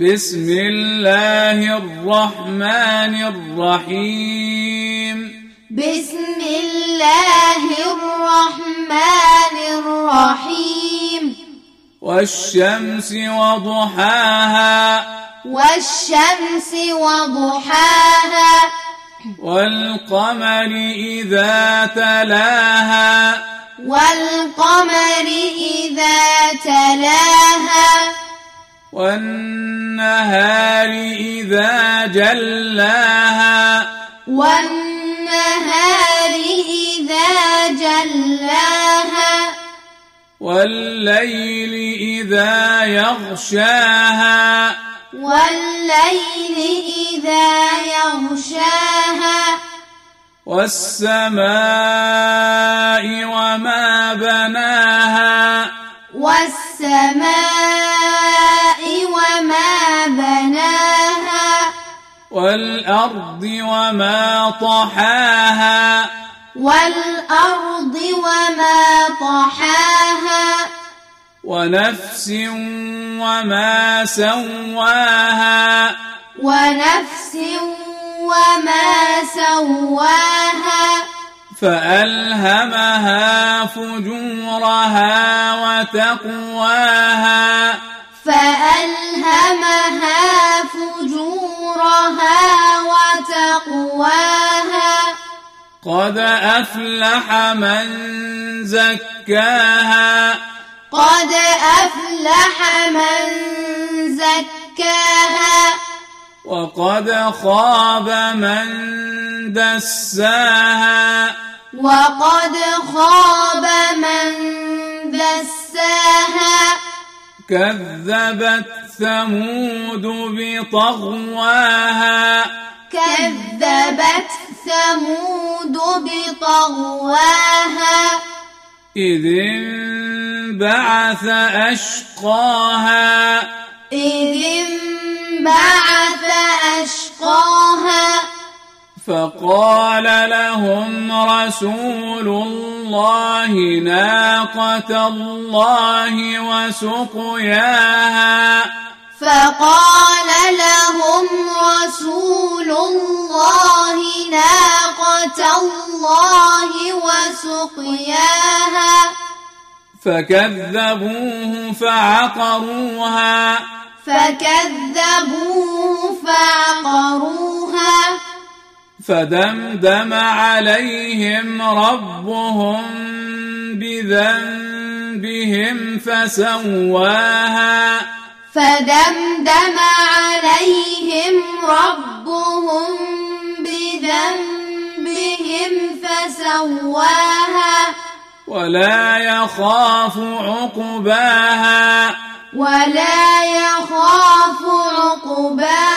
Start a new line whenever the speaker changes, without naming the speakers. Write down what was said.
بسم الله الرحمن الرحيم
بسم الله الرحمن الرحيم
والشمس وضحاها
والشمس وضحاها
والقمر إذا تلاها
والقمر إذا تلاها
والنهار إذا جلاها
والنهار إذا جلاها
والليل إذا يغشاها
والليل إذا يغشاها
والسماء وما بناها
والسماء وما بناها
والأرض وما طحاها
والأرض وما طحاها
ونفس وما سواها
ونفس وما سواها
فألهمها فجورها وتقواها
فألهمها فجورها وتقواها
قد أفلح من زكاها
قد أفلح من زكاها
وقد خاب من دساها
وقد خاب من دساها
كذبت ثمود بطغواها
كذبت ثمود بطغواها
إذ انبعث أشقاها
إذ انبعث أشقاها
فقال لهم رسول الله ناقة الله وسقياها
فقال لهم رسول الله ناقة الله وسقياها
فكذبوه فعقروها
فكذبوه فعقروها
فدمدم عليهم ربهم بذنبهم فسواها
فدمدم عليهم ربهم بذنبهم فسواها
ولا يخاف عقباها
ولا يخاف عقباها